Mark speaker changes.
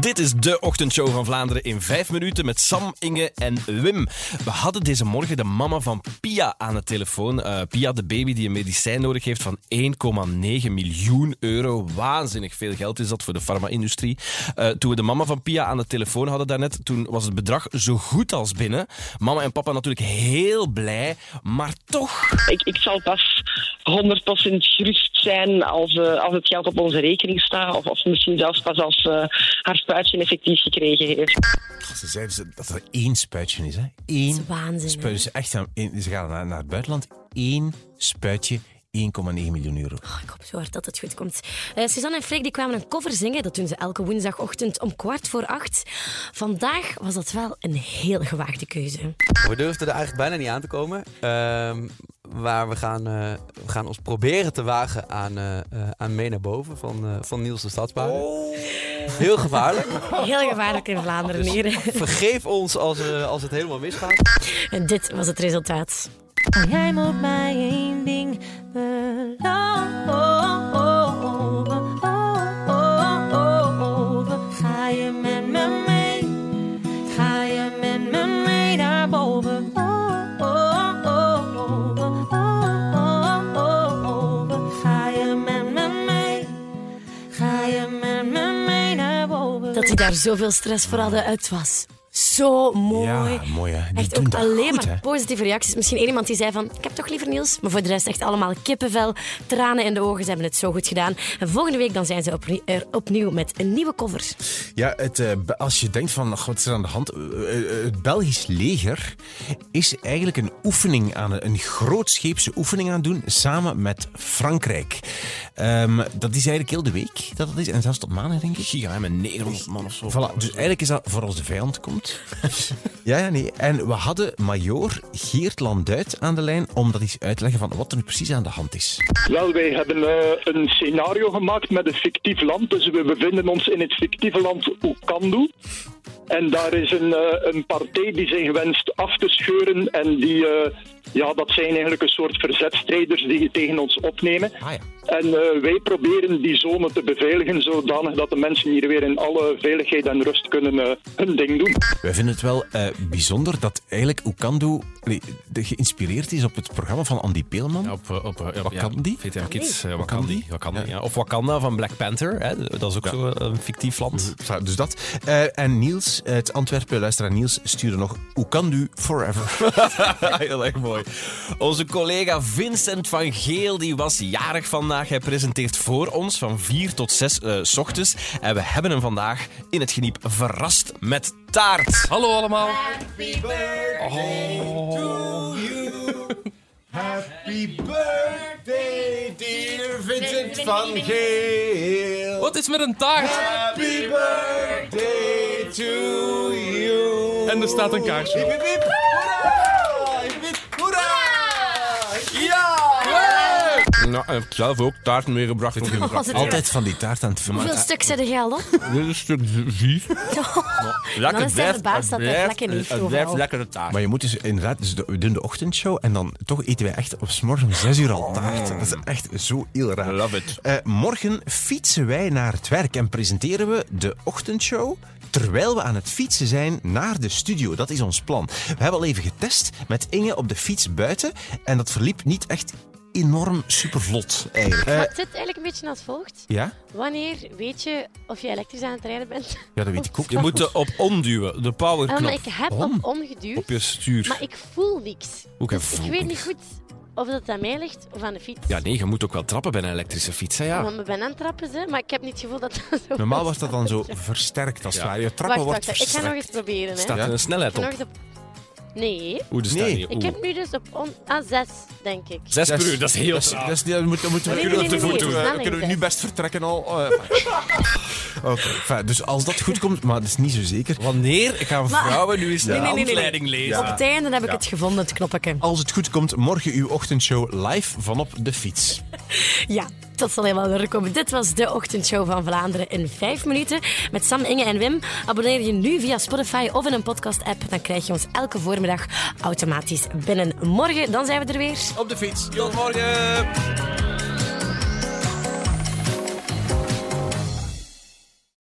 Speaker 1: Dit is de ochtendshow van Vlaanderen in vijf minuten met Sam, Inge en Wim. We hadden deze morgen de mama van Pia aan de telefoon. Eh, Pia, de baby die een medicijn nodig heeft van 1,9 miljoen euro. Waanzinnig veel geld is dat voor de farma-industrie. Eh, toen we de mama van Pia aan de telefoon hadden daarnet, toen was het bedrag zo goed als binnen. Mama en papa natuurlijk heel blij, maar toch...
Speaker 2: Ik, ik zal pas 100% gerust zijn als, eh, als het geld op onze rekening staat. Of, of misschien zelfs pas als eh, haar spuitje effectief gekregen heeft.
Speaker 3: Ze zeiden ze dat er één spuitje is, hè? Eén
Speaker 4: Dat is waanzin,
Speaker 3: spuitje.
Speaker 4: hè?
Speaker 3: Ze, echt aan- in- ze gaan naar, naar het buitenland. Eén spuitje, 1,9 miljoen euro.
Speaker 4: Oh, ik hoop zo hard dat het goed komt. Eh, Suzanne en Freek die kwamen een cover zingen. Dat doen ze elke woensdagochtend om kwart voor acht. Vandaag was dat wel een heel gewaagde keuze.
Speaker 5: We durfden er eigenlijk bijna niet aan te komen. Ehm, maar we gaan, eh, we gaan ons proberen te wagen aan, eh, eh, aan mee naar boven van, eh, van Niels de Stadsbaarder. Heel gevaarlijk.
Speaker 4: Heel gevaarlijk in Vlaanderen hier.
Speaker 5: Vergeef ons als, eh, als het helemaal misgaat.
Speaker 4: En dit was het resultaat.
Speaker 6: Jij moet mij één ding beloven. Ga je met me mee? Ga je met me mee naar boven? Ga je met me mee? Ga je met me mee naar boven?
Speaker 4: Dat die daar zoveel stress voor hadden, het was zo mooi.
Speaker 3: Ja, mooi, hè? Die
Speaker 4: Echt
Speaker 3: doen
Speaker 4: ook
Speaker 3: dat
Speaker 4: alleen
Speaker 3: goed,
Speaker 4: maar
Speaker 3: hè?
Speaker 4: positieve reacties. Misschien één iemand die zei van, ik heb toch liever Niels. Maar voor de rest echt allemaal kippenvel, tranen in de ogen. Ze hebben het zo goed gedaan. En volgende week dan zijn ze opnie- er opnieuw met een nieuwe cover.
Speaker 3: Ja, het, eh, be- als je denkt van, ach, wat is er aan de hand? Eh, eh, het Belgisch leger is eigenlijk een oefening aan het- een grootscheepse oefening aan het doen samen met Frankrijk. Ehm, dat is eigenlijk heel de week dat dat is. En zelfs tot maandag, denk ik.
Speaker 1: Giga, met 900 man of zo.
Speaker 3: Voilà, dus eigenlijk is dat voor als de vijand komt. ja, ja, nee. En we hadden major Geert Landuit aan de lijn om dat eens uit te leggen van wat er nu precies aan de hand is.
Speaker 7: Wel, wij hebben eh, een scenario gemaakt met een fictief land. Dus we bevinden ons in het fictieve land Oekandu. En daar is een, eh, een partij die zich wenst af te scheuren. En die, eh, ja, dat zijn eigenlijk een soort verzetstrijders die tegen ons opnemen.
Speaker 3: Ah ja.
Speaker 7: En eh, wij proberen die zone te beveiligen zodanig dat de mensen hier weer in alle veiligheid en rust kunnen eh, hun ding doen.
Speaker 3: Wij vinden het wel eh, bijzonder dat eigenlijk Oekando nee, de- geïnspireerd is op het programma van Andy Peelman.
Speaker 1: Ja, op, eh, op, eh, ja,
Speaker 3: Wakandi?
Speaker 1: Ja, VTM Kids, eh,
Speaker 3: Wakandi?
Speaker 1: Wakandi. Wakandi, ja. Of Wakanda van Black Panther. Hè. Dat is ook zo eh, een fictief land.
Speaker 3: Enfin, Dus dat. Eh, en Niels, eh, het Antwerpen luisteraar Niels, stuurde nog Oekandu Forever.
Speaker 1: Heel erg mooi. Onze collega Vincent van Geel die was jarig vandaag. Hij presenteert voor ons van 4 tot 6 eh, s ochtends. En we hebben hem vandaag in het geniep verrast met taart.
Speaker 8: Hallo allemaal.
Speaker 3: Happy birthday, dear Vincent van Geel.
Speaker 8: Wat is met een taart?
Speaker 3: Happy birthday to you.
Speaker 8: En er staat een kaarsje. op. Nou, ik heb zelf ook taarten meegebracht.
Speaker 3: Altijd van die taart aan het vermaken.
Speaker 4: Hoeveel stuk zet jij al op?
Speaker 8: Dit is een stuk vies.
Speaker 4: Dan is hij verbaasd dat er vlekken heeft overal.
Speaker 8: lekkere taart.
Speaker 3: Maar je moet dus inderdaad, dus de- we doen de ochtendshow en dan toch eten wij echt op 's morgens om 6 uur al taart. Dat is echt zo heel raar.
Speaker 1: Mm. Love it.
Speaker 3: Eh, morgen fietsen wij naar het werk en presenteren we de ochtendshow terwijl we aan het fietsen zijn naar de studio. Dat is ons plan. We hebben al even getest met Inge op de fiets buiten en dat verliep niet echt enorm supervlot. eigenlijk. Eh,
Speaker 9: Het zit eigenlijk een beetje als volgt.
Speaker 3: ja?
Speaker 9: Wanneer weet je of je elektrisch aan het rijden bent?
Speaker 3: ja, dat weet ik ook.
Speaker 1: Je moet eh, op onduwen, de
Speaker 4: Ah,
Speaker 9: Wel, maar
Speaker 1: powerknop
Speaker 9: ik heb
Speaker 3: Waarom?
Speaker 9: op ongeduwd,
Speaker 1: op je stuur.
Speaker 9: maar ik voel niks. Dus
Speaker 1: Ook een
Speaker 9: Ik
Speaker 1: vloek.
Speaker 9: weet niet goed of dat aan mij ligt of aan de fiets.
Speaker 1: Ja, nee, je moet ook wel trappen bij een elektrische fiets. Hè, ja.
Speaker 9: Want we ben aan het trappen, ze, maar ik heb niet het gevoel dat dat zo
Speaker 3: Normaal was dat dan zo versterkt als het ware. Je trappen
Speaker 9: Wacht,
Speaker 3: wordt
Speaker 9: wacht, wacht. ik ga nog
Speaker 3: versterkt.
Speaker 9: eens proberen. Hè.
Speaker 1: Staat
Speaker 3: Ja.
Speaker 1: er een
Speaker 9: Ik
Speaker 1: snelheid
Speaker 9: ga nog
Speaker 1: op?
Speaker 9: eens op... Nee,
Speaker 1: Oeh, er staat
Speaker 3: Nee.
Speaker 1: niet.
Speaker 9: ik
Speaker 1: Oeh.
Speaker 9: heb nu dus op on... ah, zes, denk ik.
Speaker 1: Zes per uur, dat is heel
Speaker 3: Dat is-
Speaker 1: traag.
Speaker 3: dat is- dat moeten- moeten we
Speaker 9: Nee,
Speaker 3: kunnen
Speaker 9: nee,
Speaker 3: dat
Speaker 9: nee,
Speaker 3: te voet
Speaker 9: nee,
Speaker 3: doen.
Speaker 9: nee,
Speaker 3: We
Speaker 9: nee,
Speaker 3: kunnen
Speaker 9: nee.
Speaker 3: nu best vertrekken al. eh. Oké, enfin, dus als dat goed komt, maar dat is niet zo zeker.
Speaker 1: Wanneer gaan
Speaker 4: Maar-
Speaker 1: vrouwen nu eens de
Speaker 4: Nee, nee, nee, nee, nee.
Speaker 1: handleiding lezen?
Speaker 4: Op het einde heb ik het gevonden, het knoppetje.
Speaker 3: Als het goed komt, morgen uw ochtendshow live vanop de fiets.
Speaker 4: Ja, dat zal helemaal weer komen. Dit was de ochtendshow van Vlaanderen in vijf minuten. Met Sam, Inge en Wim. Abonneer je nu via Spotify of in een podcast-app. Dan krijg je ons elke voormiddag automatisch binnen. Morgen, dan zijn we er weer.
Speaker 3: Op de fiets.
Speaker 1: Tot morgen!